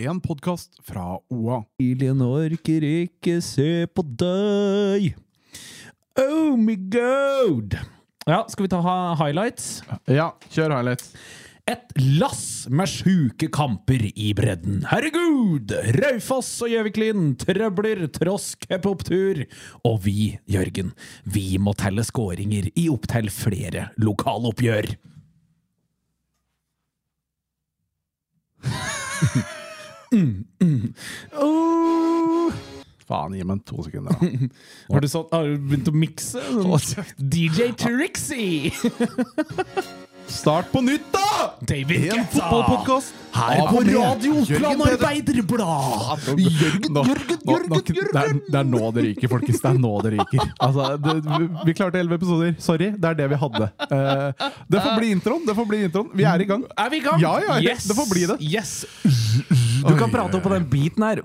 en podkast fra OA. Familien orker ikke se på deg. Oh my god! Ja, skal vi ta ha highlights? Ja, kjør highlights. Et lass med sjuke kamper i bredden. Herregud! Raufoss og Gjøviklin trøbler tross cuphopptur. Og vi, Jørgen, vi må telle skåringer i opptil flere lokaloppgjør. mm, mm. Oh. Faen, gi meg to sekunder. da. Har, du satt, har du begynt å mikse? DJ Trixie! Start på nytt, da! David En Guetta! fotballpodkast Her på Radio Oppland Jørgen Peder. Arbeiderblad! Jørgen, nå, Jørgen, nå, nå, Jørgen, Det er, det er nå det ryker, folkens. Det er nå det ryker. Altså, det, vi- vi klarte elleve episoder. Sorry, det er det vi hadde. Eh, det får bli introen. det får bli introen Vi er i gang. Er vi i gang? Ja, ja, ja. yes. Det får bli det. Yes. Du kan prate opp på den beaten her.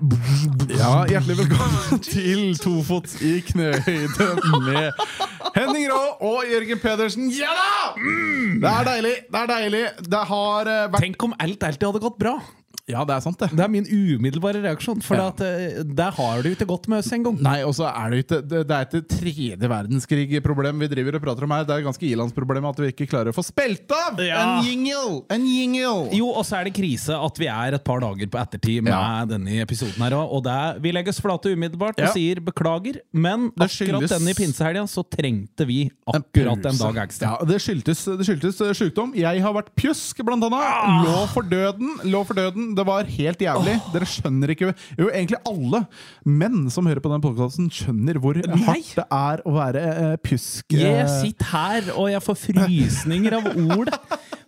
Ja, Hjertelig velkommen til Tofots i knøhøyde med Henning Rå og Jørgen Pedersen. Ja da! Mm! Det er deilig. Det er deilig. Det har eh, vært Tenk om alt alltid hadde gått bra. Ja, det er sant, det. Det er min umiddelbare reaksjon, for Ja. at, eh, der har du ikke godt med oss engang. Nei, og så er det ikke Det, det er ikke tredje verdenskrig-problem vi driver og prater om her. Det er ganske ilandsproblem at vi ikke klarer å få spilt av Ja. en jingle! En jingle! Jo, og så er det krise at vi er et par dager på ettertid med Ja. denne episoden her også, og det er, vi legges flate umiddelbart og Ja. sier beklager, men Det akkurat skyldes- denne pinsehelga så trengte vi akkurat en dag ekstra. Ja, det skyldtes, det skyldtes eh, sjukdom. Jeg har vært pjusk, blant Ah! annet. Lå for døden. Lå for døden. Det var helt jævlig. Dere skjønner ikke Jo, egentlig alle menn som hører på den podkasten, skjønner hvor hardt det er å være eh, pjusk. Jeg Eh, sitter her og jeg får frysninger av ord.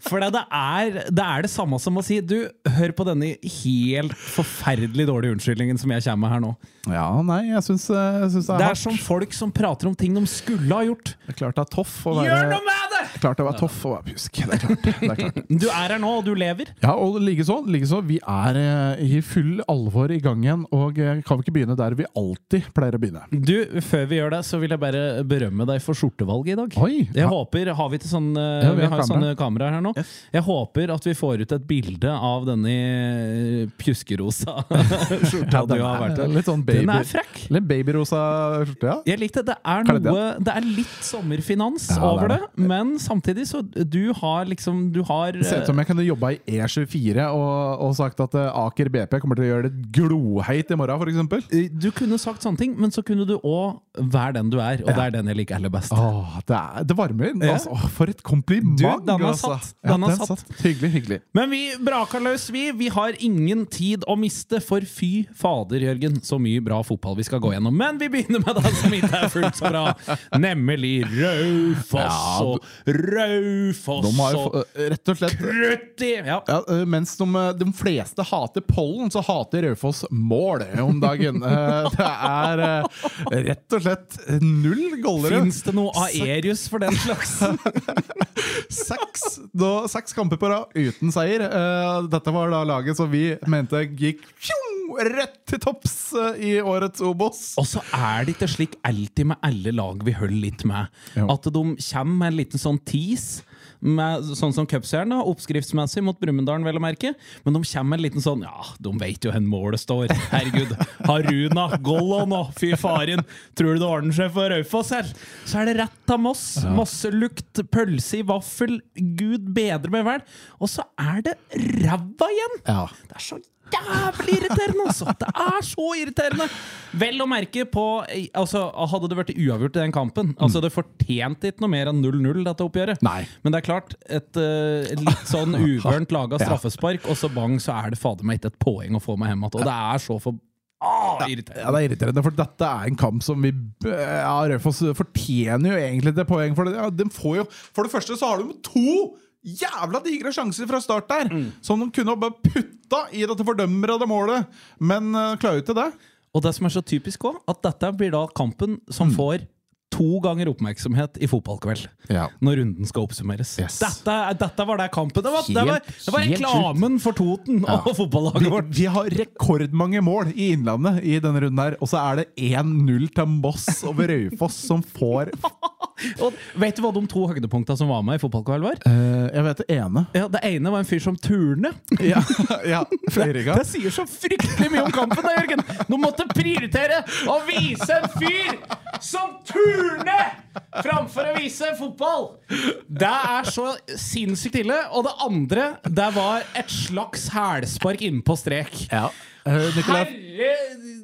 For det er, det er det samme som å si Du, hør på denne helt forferdelig dårlige unnskyldningen som jeg kommer med her nå. Ja, nei, jeg syns, eh, jeg syns det er, Det er hardt. som folk som prater om ting de skulle ha gjort. Det er klart det er toff å være Gjør noe med det! Klart det var toff å være pjusk. Det er klart. Det er klart. Du er her nå, og du lever. Ja, og likeså. likeså vi er eh, i full alvor i gang igjen, og eh, kan vi ikke begynne der vi alltid pleier å begynne? Du, Før vi gjør det, så vil jeg bare berømme deg for skjortevalget i dag. Oi! Jeg Ja, håper, Har vi ikke sånn eh, Ja, vi vi, har har jo kamera. sånne kameraer her nå? Jeg håper at vi får ut et bilde av denne eh, pjuskerosa skjorta du den har er vært i. Litt sånn baby. Den er frekk! Litt babyrosa skjorte, ja. Jeg likte det. Det er, Kan jeg det? noe, det er litt sommerfinans Ja, det er over det, det. men samtidig så Du har liksom Du har Det ser ut som jeg kunne jobba i E24 og, og sagt at eh, Aker BP kommer til å gjøre det gloheit i morgen, for eksempel eh, du kunne sagt sånne ting, men så kunne du òg være den du er. Og det er den jeg liker aller best. Åh, det, er, det varmer. Ja. Altså, åh, for et kompliment! Du, den er altså. satt. Ja, Den er er satt. satt. Hyggelig, hyggelig. Men vi braker løs, vi. Vi har ingen tid å miste, for fy fader, Jørgen, så mye bra fotball vi skal gå gjennom. Men vi begynner med det som ikke er fullt så bra, nemlig Raufoss Ja, og De Raufoss har jo og få- eh, rett og slett Krutti! Ja. Ja, eh, mens de, eh, de fleste hater pollen, så hater Raufoss mål om dagen. Eh, Det er eh, rett og slett null gollere. Fins det noe Aerius for den slags? Seks, da, seks kamper på rad uten seier. Eh, Dette var da laget som vi mente gikk pjong, rett til topps eh, i årets Obos. Og så er det ikke slik alltid med alle lag vi holder litt med. Jo. At de kommer med en liten sånn tease, med, sånn som cupseieren, da, oppskriftsmessig mot Brumunddal, vel å merke. Men de kommer med en liten sånn Ja, de vet jo hvor målet står. Herregud. Haruna, Gollon og fy faren. Tror du det ordner seg for Raufoss her? Så er det rett av Moss. Mosselukt, pølse i vaffel. Gud bedre meg vel. Og så er det ræva igjen! Ja. Det er så jævlig irriterende, altså! Det er så irriterende! Vel å merke på altså, Hadde det vært uavgjort i den kampen Altså, Det fortjente ikke noe mer enn 0-0, dette oppgjøret. Nei. Men det er klart, et eh, litt sånn uvørent laga straffespark, og så bang, så er det fader meg ikke et poeng å få meg hjem igjen. Og det er så for... Ah, Ja, det irriterende. er irriterende, for dette er en kamp som vi eh, Ja, Raufoss fortjener jo egentlig det poeng. For det, ja, de får jo, for det første så har de to jævla digre sjanser fra start der, som de kunne ha bare putta i dette fordømrede målet, men uh, klarer jo ikke det. Og det som er så typisk òg, at dette blir da kampen Mm. som får to ganger oppmerksomhet i fotballkveld. når runden skal oppsummeres. Yes. Dette, dette var det kampen. Det var, det var, Helt- det var helt reklamen for Toten og Vi, fotballaget vårt. vi har rekordmange mål i Innlandet i denne runden her, og så er det 1-0 til Moss over Raufoss, som får Og vet du hva de to høydepunktene som var med i fotballkveld, var? Eh, jeg vet det ene. Ja, det ene var en fyr som turner. Ja, ja flere Det sier så fryktelig mye om kampen, da, Jørgen! Nå måtte prioritere å vise en fyr som turner framfor å vise fotball! Det er så sinnssykt ille. Og det andre, det var et slags hælspark inne på strek. Ja. Eh, Nicolai Herre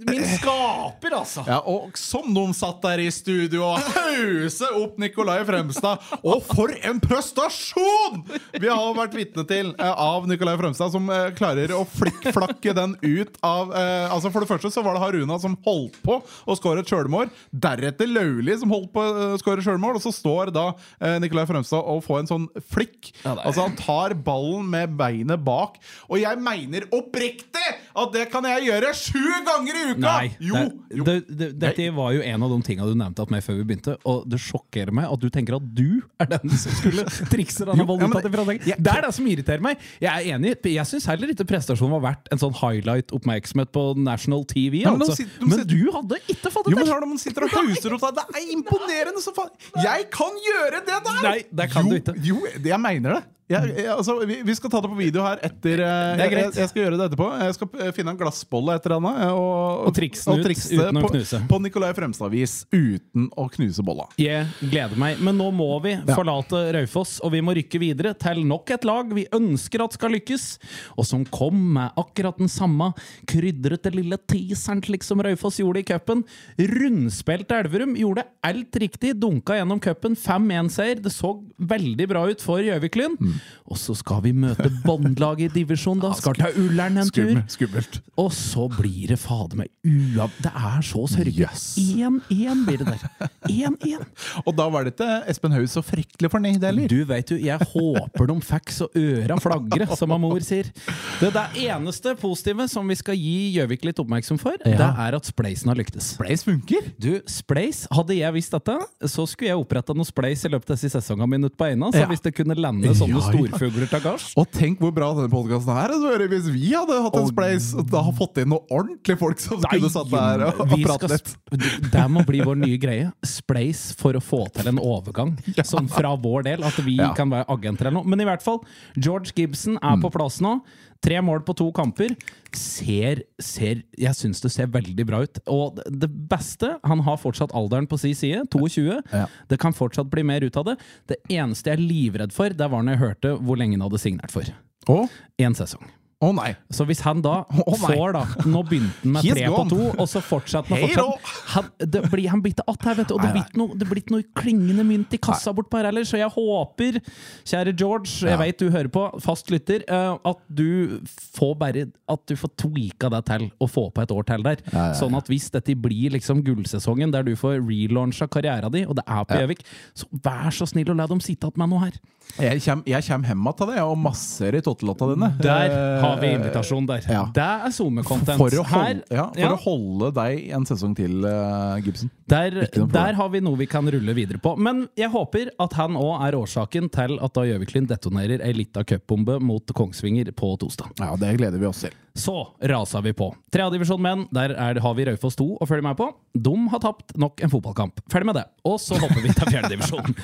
min skaper, altså! Ja, og som de satt der i studio og hauset opp Nikolai Fremstad! Og for en prestasjon vi har vært vitne til eh, av Nikolai Fremstad, som eh, klarer å flikkflakke den ut av eh, Altså For det første så var det Haruna som holdt på å score et sjølmål. Deretter Lauli som holdt på eh, å score et sjølmål. Og så står da eh, Nikolai Fremstad og får en sånn flikk. Ja, det er- altså Han tar ballen med beinet bak. Og jeg mener oppriktig at det kan jeg gjøre sju ganger i uka! Nei. jo, det, jo. Det, det, dette var jo en av de tinga du nevnte at meg før vi begynte, og det sjokkerer meg at du tenker at du er den som skulle trikse denne ja, men valutaen. til Frankrike. det er det som irriterer meg. Jeg er enig, jeg syns heller ikke prestasjonen var verdt en sånn highlight-oppmerksomhet på national TV. men de altså. sit- de men sit- du hadde ikke fått Jo, det men til! hør når man sitter og huser opp deg. Det er imponerende som faen! Jeg kan gjøre det der! Nei, det kan jo, du ikke. Mm. Jo, det- jeg mener det. Jeg, jeg, altså, vi, vi skal ta det på video her etter eh, Det er jeg, greit. jeg, jeg skal gjøre det etterpå. Jeg skal eh, finne en glassbolle etter henne eh, og, Og trikse den ut trikse uten å på, knuse. På Nicolai Fremstad-vis uten å knuse bolla. Jeg gleder meg, men nå må vi forlate Raufoss, og vi må rykke videre til nok et lag vi ønsker at skal lykkes, og som kom med akkurat den samme krydrete lille teaseren slik som Raufoss gjorde i cupen. Rundspilt Elverum gjorde alt riktig, dunka gjennom cupen 5-1-seier. Det så veldig bra ut for Gjøviklyn. Mm. Og så skal vi møte båndlaget i divisjon, da. Skal ta Ullern en tur. Skummelt. skummelt. Og så blir det fader meg uav... Det er så sørgelig. Yes. 1-1 blir det der. 1-1. Og da var det ikke Espen Haug så fryktelig fornøyd heller. Du vet jo, jeg håper de fikk så øra flagre, som min mor sier. Det, det eneste positive som vi skal gi Gjøvik litt oppmerksom for, det er at spleisen har lyktes. Blaze funker! Du, Spleis, hadde jeg visst dette, så skulle jeg oppretta noe Spleis i løpet av disse sesongene mine ute på Eina. Så Ja. hvis det kunne lande sånne Ja, ja. storfugler til gards Og tenk hvor bra denne podkasten er. altså,Øre, Hvis vi hadde hatt en spleis og da har fått inn noen ordentlige folk som kunne satt der og, og vi skal pratet litt. sp- d- Det må bli vår nye greie. Spleis for å få til en overgang. Sånn fra vår del, at vi Ja. Mm. kan være agenter eller noe. Men i hvert fall, George Gibson er på plass nå. Tre mål på to kamper. Ser, ser Jeg syns det ser veldig bra ut. Og det- det beste Han har fortsatt alderen på si side, 22. Ja. Det kan fortsatt bli mer ut av det. Det eneste jeg er livredd for, det var når jeg hørte hvor lenge han hadde signert for. Å Én sesong. Å nei. Så hvis han da Å, nei. får da Nå begynte han med Oh He's tre på gone. to, og så fortsatte han. Hei fortsatte då. han, han, det blir, han biter att her, vet du. Og det Nei, blir ikke noe, det blir ikke noe klingende mynt i kassa bort på her heller. Så jeg håper, kjære George, jeg Ja. vet du hører på, fast lytter, eh, at du får bare At du får tweaka deg til å få på et år til der. Ja, ja, ja. Sånn at hvis dette blir liksom gullsesongen der du får relauncha karriera di, og det er på Gjøvik, så vær så snill og la dem sitte igjen med noe her. Jeg kommer hjem hjemme til deg og masser i tottelotta dine. Der Eh, har vi invitasjon der. ja. Det er SoMe-content. For, å holde, Her- ja, for å holde deg en sesong til, eh, Gibson. Der, noe problem. der har vi noe vi kan rulle videre på. Men jeg håper at han òg er årsaken til at da Gjøviklyn detonerer ei lita cupbombe mot Kongsvinger på torsdag. Ja, Det gleder vi oss til. Så rasa vi på. Tredjedivisjon menn, der er, har vi Raufoss 2 å følge med på. De har tapt nok en fotballkamp. Ferdig med det. Og så hopper vi til fjerdedivisjon.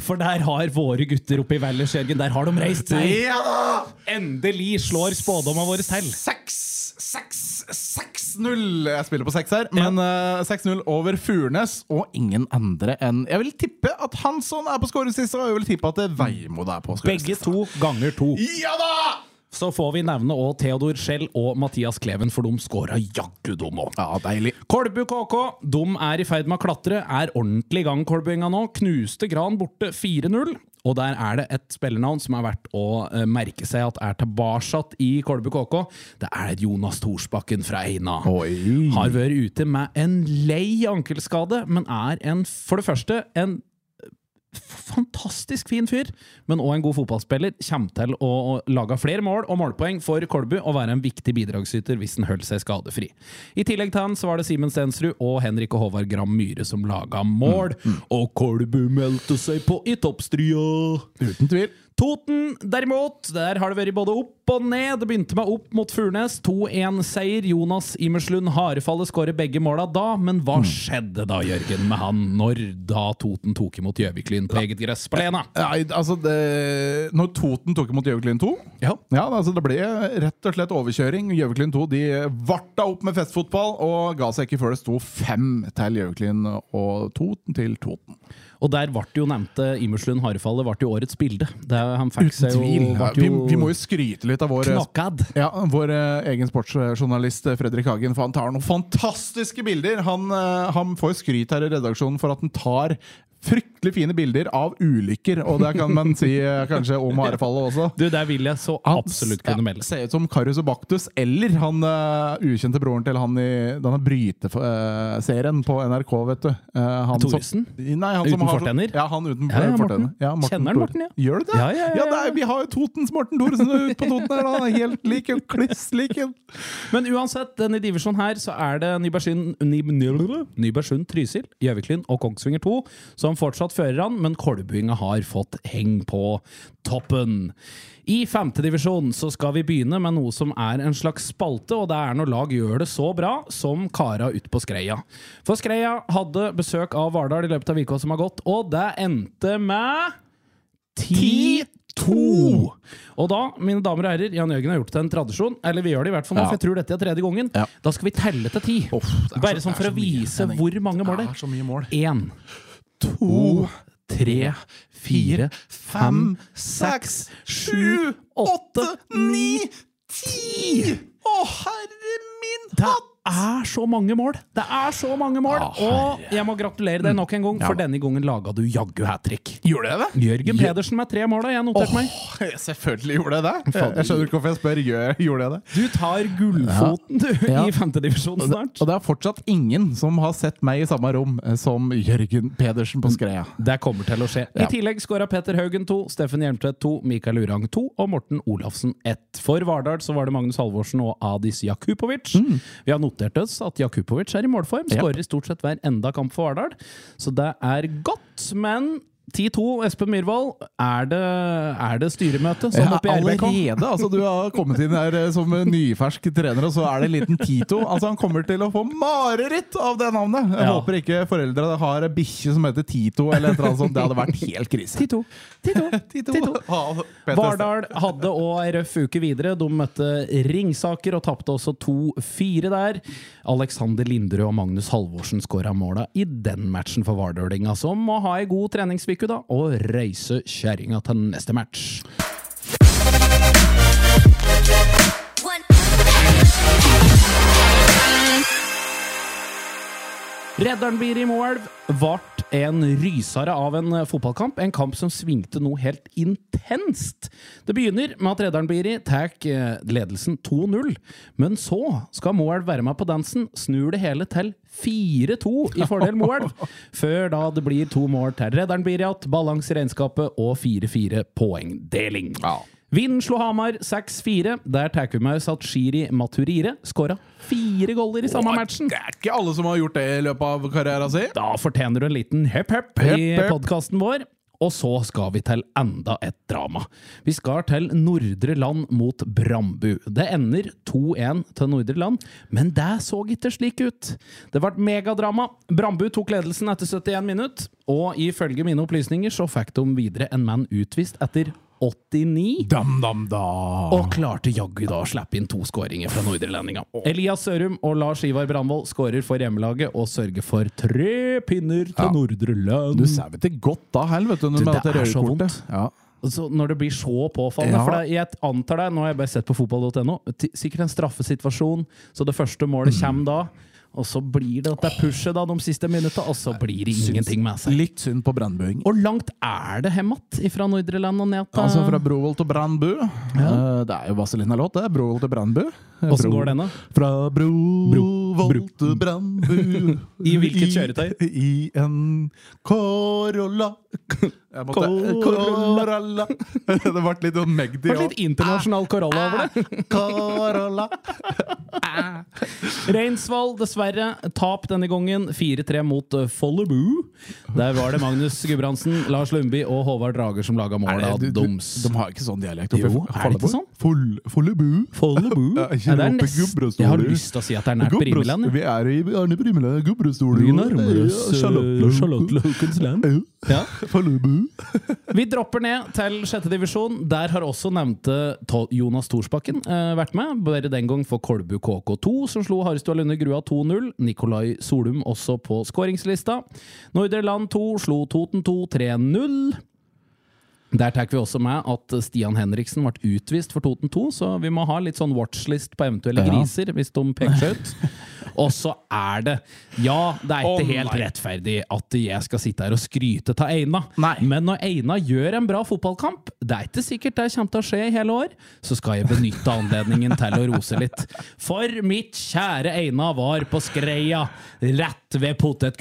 For der har våre gutter oppe i Valdres, Jørgen, der har de reist seg. Ja da! Endelig slår spådomma våre til. 6-6-6-0! Jeg spiller på seks her, men eh, 6-0 over Furnes og ingen andre enn Jeg vil tippe at Hansson er på skåringslista, og jeg vil tippe at det er Veimo det er på Begge skåringslista. to ganger to. Ja da! Så får vi nevne òg Theodor Schjell og Mathias Kleven, for de skåra jaggu, de òg. Ja, deilig. Kolbu KK de er i ferd med å klatre, er ordentlig i gang Kolbuinga nå. Knuste Gran borte 4-0. Og der er det et spillernavn som er verdt å eh, merke seg at er tilbakesatt i Kolbu KK. Det er Jonas Thorsbakken fra Eina. Oi. Har vært ute med en lei ankelskade, men er en, for det første en fantastisk fin fyr, men òg en god fotballspiller. Kommer til å lage flere mål og målpoeng for Kolbu og være en viktig bidragsyter hvis han holder seg skadefri. I tillegg til han så var det Simen Stensrud og Henrik og Håvard Gram Myhre som laga mål, og Kolbu meldte seg på i toppstria! Uten tvil. Toten, derimot, der har det vært både opp og ned. Det begynte med opp mot Furnes. 2-1-seier. Jonas Imerslund Harefalle skårer begge måla da, men Mm. hva skjedde da, Jørgen, med han når da Toten tok imot Gjøviklyn på eget gress på Lena? Nei, altså det, Når Toten tok imot Gjøviklyn 2 Ja. altså Det ble rett og slett overkjøring. Gjøviklyn 2 de varta opp med festfotball og ga seg ikke før det sto fem til Gjøviklyn og Toten til Toten. Og der ble det jo nevnte Imerslund Harefalle ble jo årets bilde. Det, han fikk seg jo, Ja, ble vi, jo vi må jo skryte litt av vår knockad. Ja, Vår eh, egen sportsjournalist eh, Fredrik Hagen for han tar noen fantastiske bilder. Han, eh, han får skryt her i redaksjonen for at han tar fryktelig fine bilder av ulykker. Og det kan man si eh, kanskje om Harefallet også. Du, der vil jeg så Han absolutt kunne melde. Ser ut som Karus og Baktus eller han eh, ukjente broren til han i denne bryteserien på NRK, vet du. Eh, han som- Thoresen? Nei, han Uten som har så- fortenner? Ja, han uten Ja, ja, Morten. fortenner. Ja, Kjenner han Morten, Thor- ja. Gjør du det? Ja, ja, ja, ja. nei, vi har jo Totens Morten Thoresen ute på Toten her, da. Han er helt lik en kliss lik en. Men uansett, denne divisjonen her så er det Nybergsund, Nyb- Nyb- Nybergsund Trysil, Gjøviklyn og Kongsvinger 2 som fortsatt fører an, men Kolbuinga har fått heng på toppen. I femtedivisjon så skal vi begynne med noe som er en slags spalte, og det er når lag gjør det så bra som kara ute på Skreia. For Skreia hadde besøk av Vardal i løpet av uka som har gått, og det endte med 10-2. Og da, mine damer og herrer, Jan Jørgen har gjort det til en tradisjon. Eller vi gjør det i hvert fall nå, Ja. for jeg tror dette er tredje gangen. Ja. Da skal vi telle til ti. det er Bare så- sånn det for er å så mye, vise Henning. hvor mange mål det Det er er. så mye mål. Én, to, tre, fire, fem, seks, sju, åtte, ni ti! Å, herre min Det er så mange mål! Det er så mange mål! Ah, Og jeg må gratulere deg nok en gang, for Mm. Ja. denne gangen laga du jaggu hat trick. Gjorde jeg det? Jørgen Pedersen med tre mål, har jeg notert meg. Åh, jeg- selvfølgelig gjorde jeg det! Jeg, jeg skjønner ikke hvorfor jeg spør. Gjør- Gjorde jeg det? Du tar gullfoten, du, Ja. i femtedivisjon snart. Og det er fortsatt ingen som har sett meg i samme rom eh, som Jørgen Pedersen på Skreia. Det kommer til å skje. I Ja. tillegg skåra Petter Haugen 2, Steffen Hjelmtvedt 2, Mikael Urang 2 og Morten Olafsen 1. For Vardal så var det Magnus Halvorsen og Adis Jakupovic. Vi har notert oss at Jakupovic er i målform. Mm. Ja. Skårer i stort sett hver enda kamp for Vardal, så det er godt. Men 10-2, Espen Myhrvold, er det, er det styremøte sånn oppe i RBK? allerede! Altså, du har kommet inn her eh, som eh, nyfersk trener, og så er det en liten Tito. Altså, han kommer til å få mareritt av det navnet! Jeg Ja. håper ikke foreldre har ei bikkje som heter Tito, eller et eller annet sånt. Det hadde vært helt krise. 10-2. 10-2. Tito. 10-2. Ha, PTSD. Vardal hadde òg ei røff uke videre. De møtte Ringsaker og tapte også 2-4 der. Alexander Linderud og Magnus Halvorsen skåra måla i den matchen for Vardølinga, som må ha ei god treningsuke da, og reise kjerringa til neste match. One. Redderen Biri Moelv vart en rysare av en eh, fotballkamp. En kamp som svingte noe helt intenst. Det begynner med at Redderen Biri tar eh, ledelsen 2-0. Men så skal Moelv være med på dansen. Snur det hele til 4-2 i fordel Moelv. Før da det blir to mål til Redderen Biri igjen. Balanse i regnskapet og 4-4 poengdeling. Ja. Vind slo Hamar 6-4. Der tar vi med oss at Shiri Maturire skåra fire goller i samme matchen. Det er ikke alle som har gjort det i løpet av karrieren sin. Da fortjener du en liten hepp hepp i Hepp, hepp. podkasten vår. Og så skal vi til enda et drama. Vi skal til Nordre Land mot Brambu. Det ender 2-1 til Nordre Land, men det så ikke slik ut. Det ble megadrama. Brambu tok ledelsen etter 71 minutt, og ifølge mine opplysninger så fikk de videre en mann utvist etter 89. Dam, dam, da. Og klarte jaggu da å slippe inn to skåringer fra nordrelendinga. Elias Sørum og Lars Ivar Brandvold skårer for hjemmelaget og sørger for tre pinner til Nordre Land. Du sævete godt da, helvete. Du, Med det dette er røde så kortet. vondt. Ja. Så når det blir så påfallende Ja. For det, jeg antar det, nå har jeg bare sett på fotball.no, ti- sikkert en straffesituasjon, så det første målet Mm. kommer da. Og så blir det at det er pushet da de siste minutta, og så blir det ingenting med seg. Litt synd på Brandbuing. Hvor langt er det hjem igjen fra Nordre Land og ned til Altså fra Brovold til Brandbu. Eh, Det er jo Vazelina-låt, det. Brovold til Brandbu. Åssen går den, da? Fra Brovold Bro. til Brandbu. I hvilket kjøretøy? I en Corolla. Jeg måtte- Corolla. Det ble litt sånn Magdi Det var litt internasjonal Corolla over det. Corolla. Reinsvoll, dessverre. Tap denne gangen. 4-3 mot eh, Follebu. Der var det Magnus Gudbrandsen, Lars Lundby og Håvard Drager som laga mål. Er Da, det- du- doms. du- De har ikke sånn dialekt. Jo, oppe i er det ikke Follebu? sånn? Foll- Follebu. Follebu? Ja, ikke Ja, det er rope nest- Gudbrandsdalen. Jeg har lyst til å si at det er nært Gudbrands- Brimeland. Vi er i Arne Brimeland, Gudbrandsdalen. Vi nærmer oss Ja, eh, Charlotte- Charlotte Haukens land. Ja, Ja. Follebu. Vi dropper ned til sjette divisjon. Der har også nevnte To- Jonas Thorsbakken eh, vært med. Bare den gang for Kolbu KK2, som slo Harestua Lunde Grua 2-0. Nikolai Solum også på skåringslista. Nordre Land 2 slo Toten 2 3-0. Der tar vi også med at Stian Henriksen ble utvist for Toten 2, så vi må ha litt sånn watchlist på eventuelle Ja. griser hvis de peker seg ut. Og så er det Ja, det er ikke Å, helt nei. rettferdig at jeg skal sitte her og skryte av Eina, Nei. men når Eina gjør en bra fotballkamp, det er ikke sikkert det kommer til å skje i hele år, så skal jeg benytte anledningen til å rose litt. For mitt kjære Eina var på Skreia, rett ved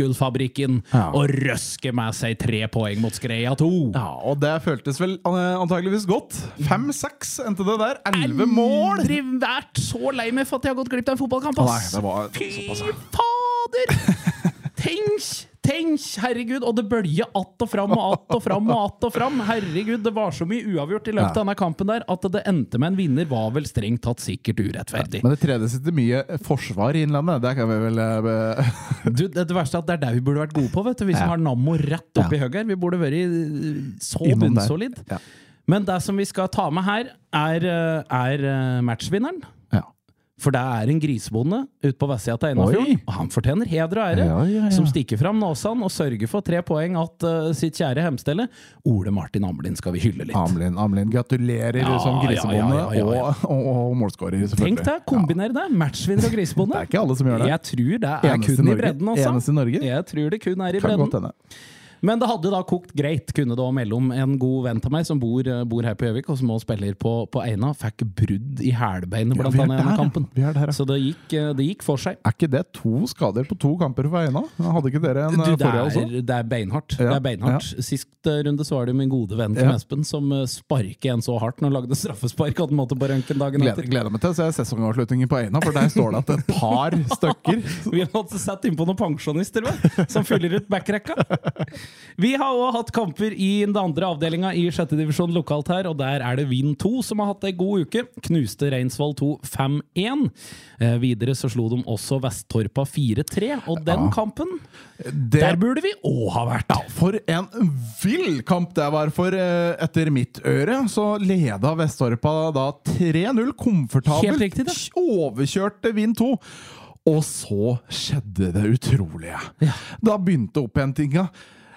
potetgullfabrikken, Ja. og røsker med seg tre poeng mot Skreia 2. Ja, og det føltes vel eh, antageligvis godt. Fem-seks endte det der. Elleve mål! Aldri vært så lei meg for at jeg har gått glipp av en fotballkamp, Nei, ass! det var såpass. Fy fader! Tenk! Tenk, herregud, og det bølger att og fram og att og fram. og att og fram Herregud, Det var så mye uavgjort i løpet av denne kampen der at det endte med en vinner, var vel strengt tatt sikkert urettferdig. Men det tredje sitter mye forsvar i Innlandet. Det kan vi vel eh, Du, det det verste er at det er der vi burde vært gode på, vet du. Vi som har Nammo rett oppi høyre her. Vi burde vært eh, så Innom der. bunnsolid. Ja. Men det som vi skal ta med her, er, eh, er eh, matchvinneren. ja. For det er en grisebonde ute på vestsida av Einarfjorden. Oi. Og han fortjener heder og ære, Ja, ja, ja. som stikker fram Nåsan og sørger for tre poeng at eh, sitt kjære hjemstelle. Ole Martin Amlin skal vi hylle litt. Amlin, Amlin, gratulerer Ja, som grisebonde ja, ja, ja, ja. Og, og, og målskårer, selvfølgelig. Tenk deg, kombiner det! Matchvinner og grisebonde. Det er ikke alle som gjør det. Jeg tror det er Eneste i kun i Norge. bredden, altså. Eneste i Norge. Jeg tror det kun er i Kan bredden. godt hende. Men det hadde da kokt greit, kunne det også melde om. En god venn av meg som bor, eh, bor her på Gjøvik, og som også spiller på, på Eina, fikk brudd i hælbeinet Ja, blant vi er annet der, gjennom ja. kampen. Vi er der, ja. Så det gikk, eh, det gikk for seg. Er ikke det to skader på to kamper for Eina? Hadde ikke dere en Du, eh, det, forrige også? er, det er beinhardt. Ja, Det er beinhardt. Sist eh, runde så var det min gode venn Kim Ja. Espen som eh, sparket en så hardt når han lagde straffespark at han måtte på røntgen dagen Gleder, etter. gleder meg til å se sesongavslutningen på Eina, for der står det at et par stykker Vi har altså satt innpå noen pensjonister vet, som fyller ut backrekka. Vi har òg hatt kamper i den andre avdelinga i sjette divisjon lokalt her, og der er det Vind 2 som har hatt ei god uke. Knuste Reinsvoll 2 5-1. Eh, videre så slo de også Vesttorpa 4-3, og den kampen det, Der burde vi òg ha vært! For en vill kamp det var for eh, etter mitt øre. Så leda Vestorpa da 3-0 komfortabelt. Helt riktig, det. Overkjørte Vind 2. Og så skjedde det utrolige. Da begynte opphentinga.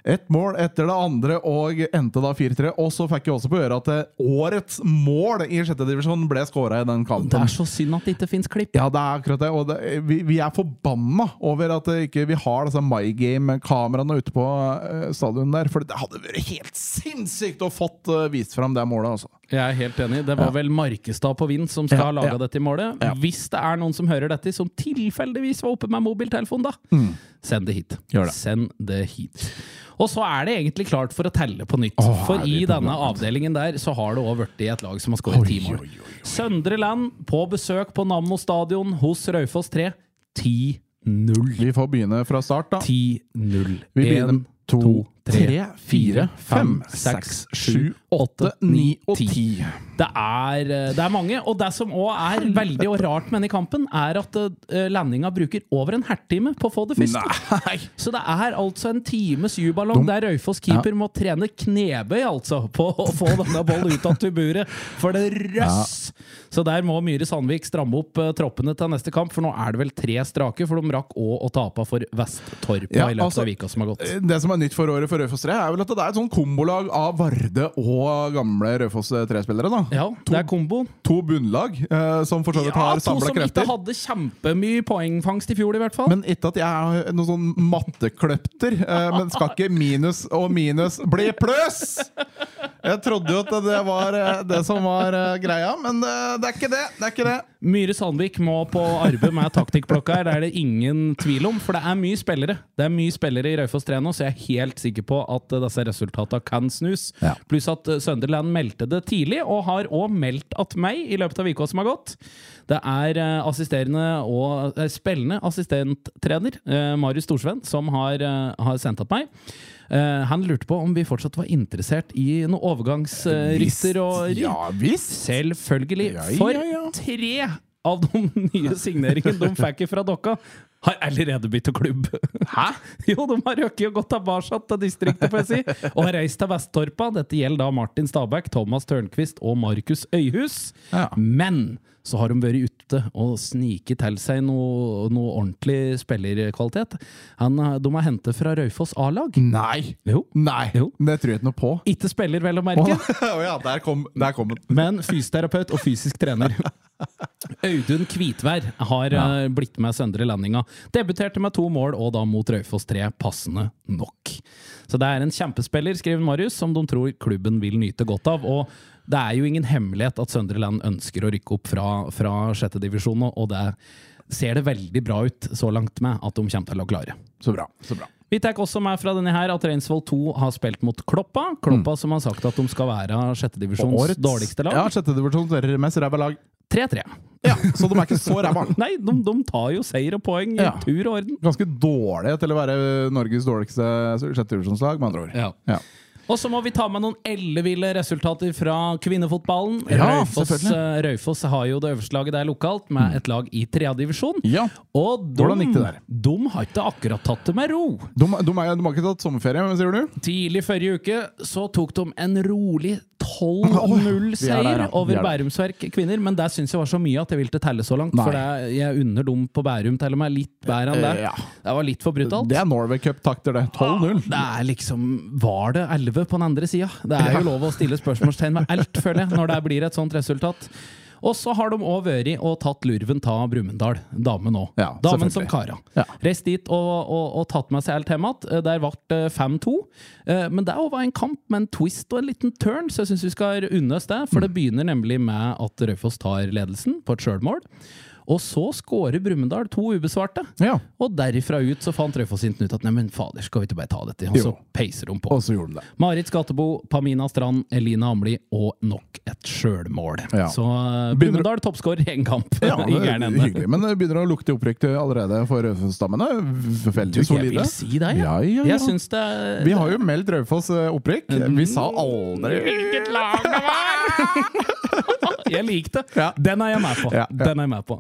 Ett mål etter det andre, og endte da 4-3. Og så fikk jeg også på øret at eh, årets mål i sjette divisjon ble skåra i den kampen. Det er så synd at det ikke fins klipp. Ja, det er akkurat det. Og det, vi, vi er forbanna over at eh, ikke vi ikke har disse MyGame-kameraene ute på eh, stadion der. For det hadde vært helt sinnssykt å fått eh, vist fram det målet, altså. Jeg er helt enig. Det var vel Markestad på Vind som skal Ja, ha laga ja. dette i målet. Ja. Hvis det er noen som hører dette, som tilfeldigvis var oppe med mobiltelefon, da, send det hit. Mm. Gjør det. Send det hit. Og så er det egentlig klart for å telle på nytt. Åh, for er i vi på denne avdelingen der så har det òg blitt et lag som har skåret ti mål. Søndre Land på besøk på Nammo stadion hos Raufoss 3. 10-0. Vi får begynne fra start, da. 10-0. Vi begynner En, med to, tre, fire, fem, seks, seks, sju, sju, åtte, ni og ti. Det er, eh, det er mange. Og det som òg er veldig og rart med denne kampen, er at eh, landinga bruker over en hertime på å få det første. Nei! Så det er altså en times juballong der Raufoss keeper må trene knebøy altså, på å få denne ballen ut av tuburet, for det røss! Så der må Myhre Sandvik stramme opp eh, troppene til neste kamp, for nå er det vel tre strake, for de rakk òg å tape for Vesttorpa Ja, i løpet altså, av vika som har gått. Det som er nytt for året for Raufoss 3, er vel at det er et sånn kombolag av Varde og gamle Raufoss 3-spillere. da Ja, det er komboen. To bunnlag eh, som for så vidt Ja, har to samla som krefter. ikke hadde kjempemye poengfangst i fjor, i hvert fall. Men ikke at jeg er noen sånn mattekløpter. eh, Men skal ikke minus og minus bli pluss?! Jeg trodde jo at det var eh, det som var eh, greia, men eh, det er ikke det. det, er ikke det. Myhre Sandvik må på arbeid med taktikkblokka her, det er det ingen tvil om. For det er mye spillere Det er mye spillere i Raufoss 3 nå, så jeg er helt sikker på at eh, disse resultatene kan snus. Ja. Pluss at eh, Sunderland meldte det tidlig, og har òg meldt at meg i løpet av uka som har gått. Det er eh, assisterende og eh, spillende assistenttrener eh, Marius Storsven som har, eh, har sendt opp meg. Eh, han lurte på om vi fortsatt var interessert i noen overgangsrytter og ry. Ja visst! Selvfølgelig. Ja, ja, For ja. tre av de nye signeringene de fikk fra Dokka, har allerede bytta klubb. Hæ? Jo, de har røkket å gå tilbake til distriktet, får jeg si, og har reist til Vesttorpa. Dette gjelder da Martin Stabæk, Thomas Tørnquist og Markus Øyhus. Ja. Men så har de vært ute og sniket til seg noe, noe ordentlig spillerkvalitet. Han, har- de har hentet fra Raufoss A-lag. Mm. Nei. Jo. Nei. Jo. Det tror jeg ikke noe på. Ikke spiller, vel å Å merke. ja, der kom, der kom den. Men fysioterapeut og fysisk trener. Audun Kvitvær har eh, blitt med Søndre Landinga. Debuterte med to mål, og da mot Raufoss 3, passende nok. Så det er en kjempespiller, skriver Marius, som de tror klubben vil nyte godt av. Og det er jo ingen hemmelighet at Søndre Land ønsker å rykke opp fra, fra sjette divisjon, og det ser det veldig bra ut så langt med at de kommer til å klare. Så bra. så bra Vi tar også med fra denne her at Reinsvoll 2 har spilt mot Kloppa. Kloppa som har sagt at de skal være sjettedivisjons dårligste lag. Ja, sjette divisjons mest ræva lag. 3-3. Ja, så de er ikke så ræva. Nei, de, de tar jo seier og poeng i Ja. tur og orden. Ganske dårlige til å være Norges dårligste sjette divisjonslag, med andre ord. Ja. Og så må vi ta med noen elleville resultater fra kvinnefotballen. Ja, Raufoss, selvfølgelig. Mm. eh, Raufoss har jo det øverste laget der lokalt, med et lag i tredjedivisjon. Ja. Og de, Hvordan gikk det der? de har ikke akkurat tatt det med ro. De, de, er, de har ikke tatt sommerferie, men sier du? Tidlig forrige uke så tok de en rolig vi er der, 12-0-seier ja. Vi over er der. Bærumsverk kvinner, men det syns jeg var så mye at jeg ville ikke telle så langt. Nei. For det, er- jeg unner dem på Bærum til og med litt bedre enn det. Eh, ja. Det var litt for brutalt. Det er Norway Cup-takter, det. 12-0. Ah, Det er liksom Var det 11 på den andre sida? Det er jo lov å stille spørsmålstegn ved alt, føler jeg, når det blir et sånt resultat. Og så har de òg vært og tatt lurven ta Brumunddal, damen òg. Ja, damen selvfølgelig. som kara. Ja. Reist dit og, og, og tatt med seg alt hjem igjen. Der ble det 5-2. Eh, Men det var en kamp med en twist og en liten turn, så jeg syns vi skal unne oss det. Mm. For det begynner nemlig med at Raufoss tar ledelsen på et sjølmål. Og så skårer Brumunddal to ubesvarte. Ja. Og derifra ut så fant Raufoss-Hinten ut at nei, men fader, skal vi ikke bare ta dette? Og Jo. så peiser de på. Og så gjorde de det. Marit Skattebo, Pamina Strand, Elina Amli og nok et sjølmål. Ja. Så eh, Begynner- Brumunddal toppskårer én kamp i det gæren er ende. hyggelig, men det begynner å lukte opprykk allerede for Raufoss-damene. V- Veldig Jeg solide. vil si det, jeg. Ja, ja, ja. Jeg syns det Vi har jo meldt Raufoss eh, opprykk. Vi sa aldri Hvilket lag det var! jeg likte det. Ja. Den er jeg med på. Ja, ja. Den er jeg med på.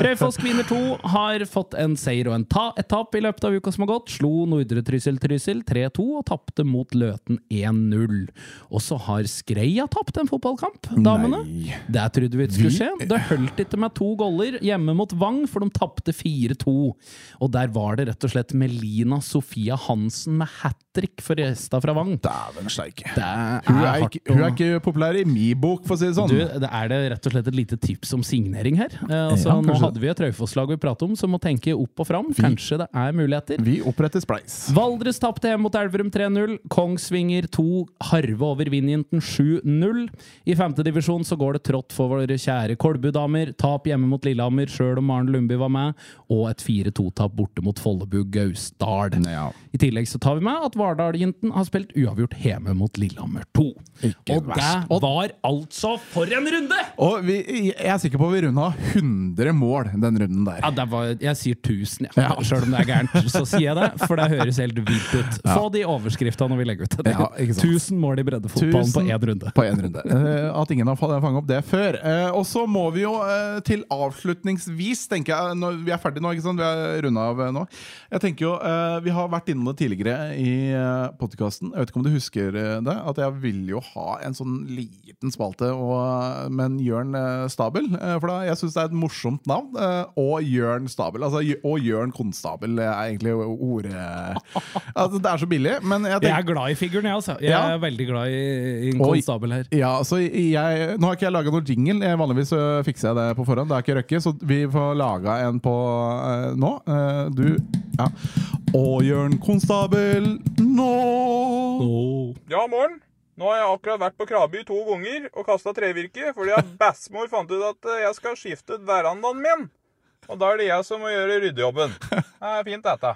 Raufoss kvinner 2 har fått en seier og en ta et tap i løpet av uka som har gått. Slo Nordre Trysil Trysil 3-2 og tapte mot Løten 1-0. Og så har Skreia tapt en fotballkamp, damene. Nei. Det trodde vi ikke skulle skje. Det holdt ikke med to goller hjemme mot Vang, for de tapte 4-2. Og der var det rett og slett Melina Sofia Hansen med hat trick for resta fra Vang. Dæven steike. Det er Hun er, hardt ikke, hun er å- ikke populær i min bok, for å si det sånn. du, det er det rett og slett et lite tips om signering her. Eh, altså, Ja, nå kanskje. hadde vi et Raufoss-lag vi pratet om, så må tenke opp og fram. Kanskje det er muligheter. Vi oppretter Spleis. Valdres tapte hjemme mot Elverum 3-0. Kongsvinger 2, Harve over Vinjenten 7-0. I femtedivisjon så går det trått for våre kjære Kolbu-damer. Tap hjemme mot Lillehammer, sjøl om Maren Lundby var med. Og et 4-2-tap borte mot Follebu Gausdal. Ja. I tillegg så tar vi med at Vardal-jenten har spilt uavgjort hjemme mot Lillehammer 2. Ikke og verst. det var altså for en runde! Og vi, jeg er sikker på at vi runda 100 mål den runden der. Ja, det var, jeg sier 1000, ja. Ja. Selv om det er gærent, så sier jeg det. For det høres helt vilt ut. Få de overskriftene når vi legger ut det. Ja, ikke sant. 1000 mål i breddefotballen på Tusen- én runde. På en runde. Eh, at ingen har fanga opp det før. Eh, og så må vi jo eh, til avslutningsvis, tenker jeg når Vi er ferdig nå, ikke sant? Vi er runda av eh, nå. Jeg tenker jo, eh, Vi har vært innom det tidligere i eh, podkasten. Jeg vet ikke om du husker eh, det? At jeg ville jo ha en sånn liten spalte og, med en Jørn eh, Stabel. Eh, for da, jeg syns det er et morsomt navn. Eh, og Jørn Stabel. Altså, Jø- og Jørn Konstabel er egentlig ordet altså, Det er så billig, men jeg tenker Jeg er glad i figuren, jeg, altså. Jeg Ja. er veldig glad i, i en Oi. konstabel her. Ja, altså jeg, Nå har ikke jeg laga noen jingle. Jeg vanligvis øh, fikser jeg det på forhånd. Det er ikke røkke, så vi får laga en på øh, nå. Eh, du ja. Å, Jørn Konstabel, nå Åh. Ja, morgen. Nå har jeg akkurat vært på Krabi to ganger og kasta trevirke fordi at bestemor fant ut at eh, jeg skal skifte ut verandaen min. Og da er det jeg som må gjøre ryddejobben. Det er fint, dette.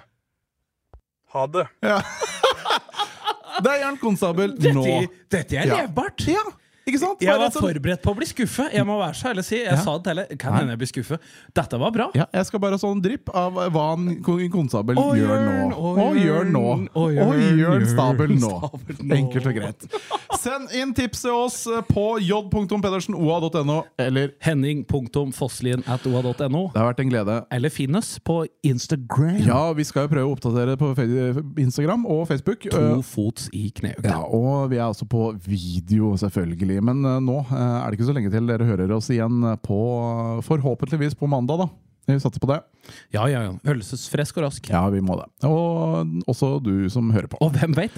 Ha det. Det er Jørn Konstabel nå. Dette, dette er Ja. levbart! Ja, ikke sant? Jeg Bare var sånn- forberedt på å bli skuffet. Jeg må være så ærlig å si. Jeg sa det til henne. Kan hende jeg blir skuffet. Dette var bra. ja, jeg skal bare ha sånn drypp av hva han kon- konstabel Å, gjør Jørn, nå. å, Og gjør Jørn, nå. å, Og Jørn, gjør stabel Jørn nå. Stabel nå. Enkelt og greit. Send inn tips til oss på j.pedersenoa.no eller Henning.fosslien.oa.no. Det har vært en glede. Eller finn oss på Instagram. Ja, vi skal jo prøve å oppdatere på Fe- Instagram og Facebook. To Eh, fots i knehøyde. Ja, og vi er også på video, selvfølgelig. Men eh, nå eh, er det ikke så lenge til dere hører oss igjen eh, på Forhåpentligvis på mandag, da. Vi satser på det. Ja, ja, ja. Ølsesfresk og rask. Ja, vi må det. Og også du som hører på. Og hvem veit?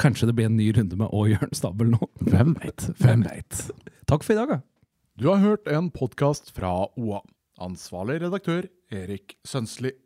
Kanskje det blir en ny runde med Å Jørn Stabel nå. Hvem veit? Hvem veit? Takk for i dag, da. Du har hørt en podkast fra OA. Ansvarlig redaktør Erik Sønsli.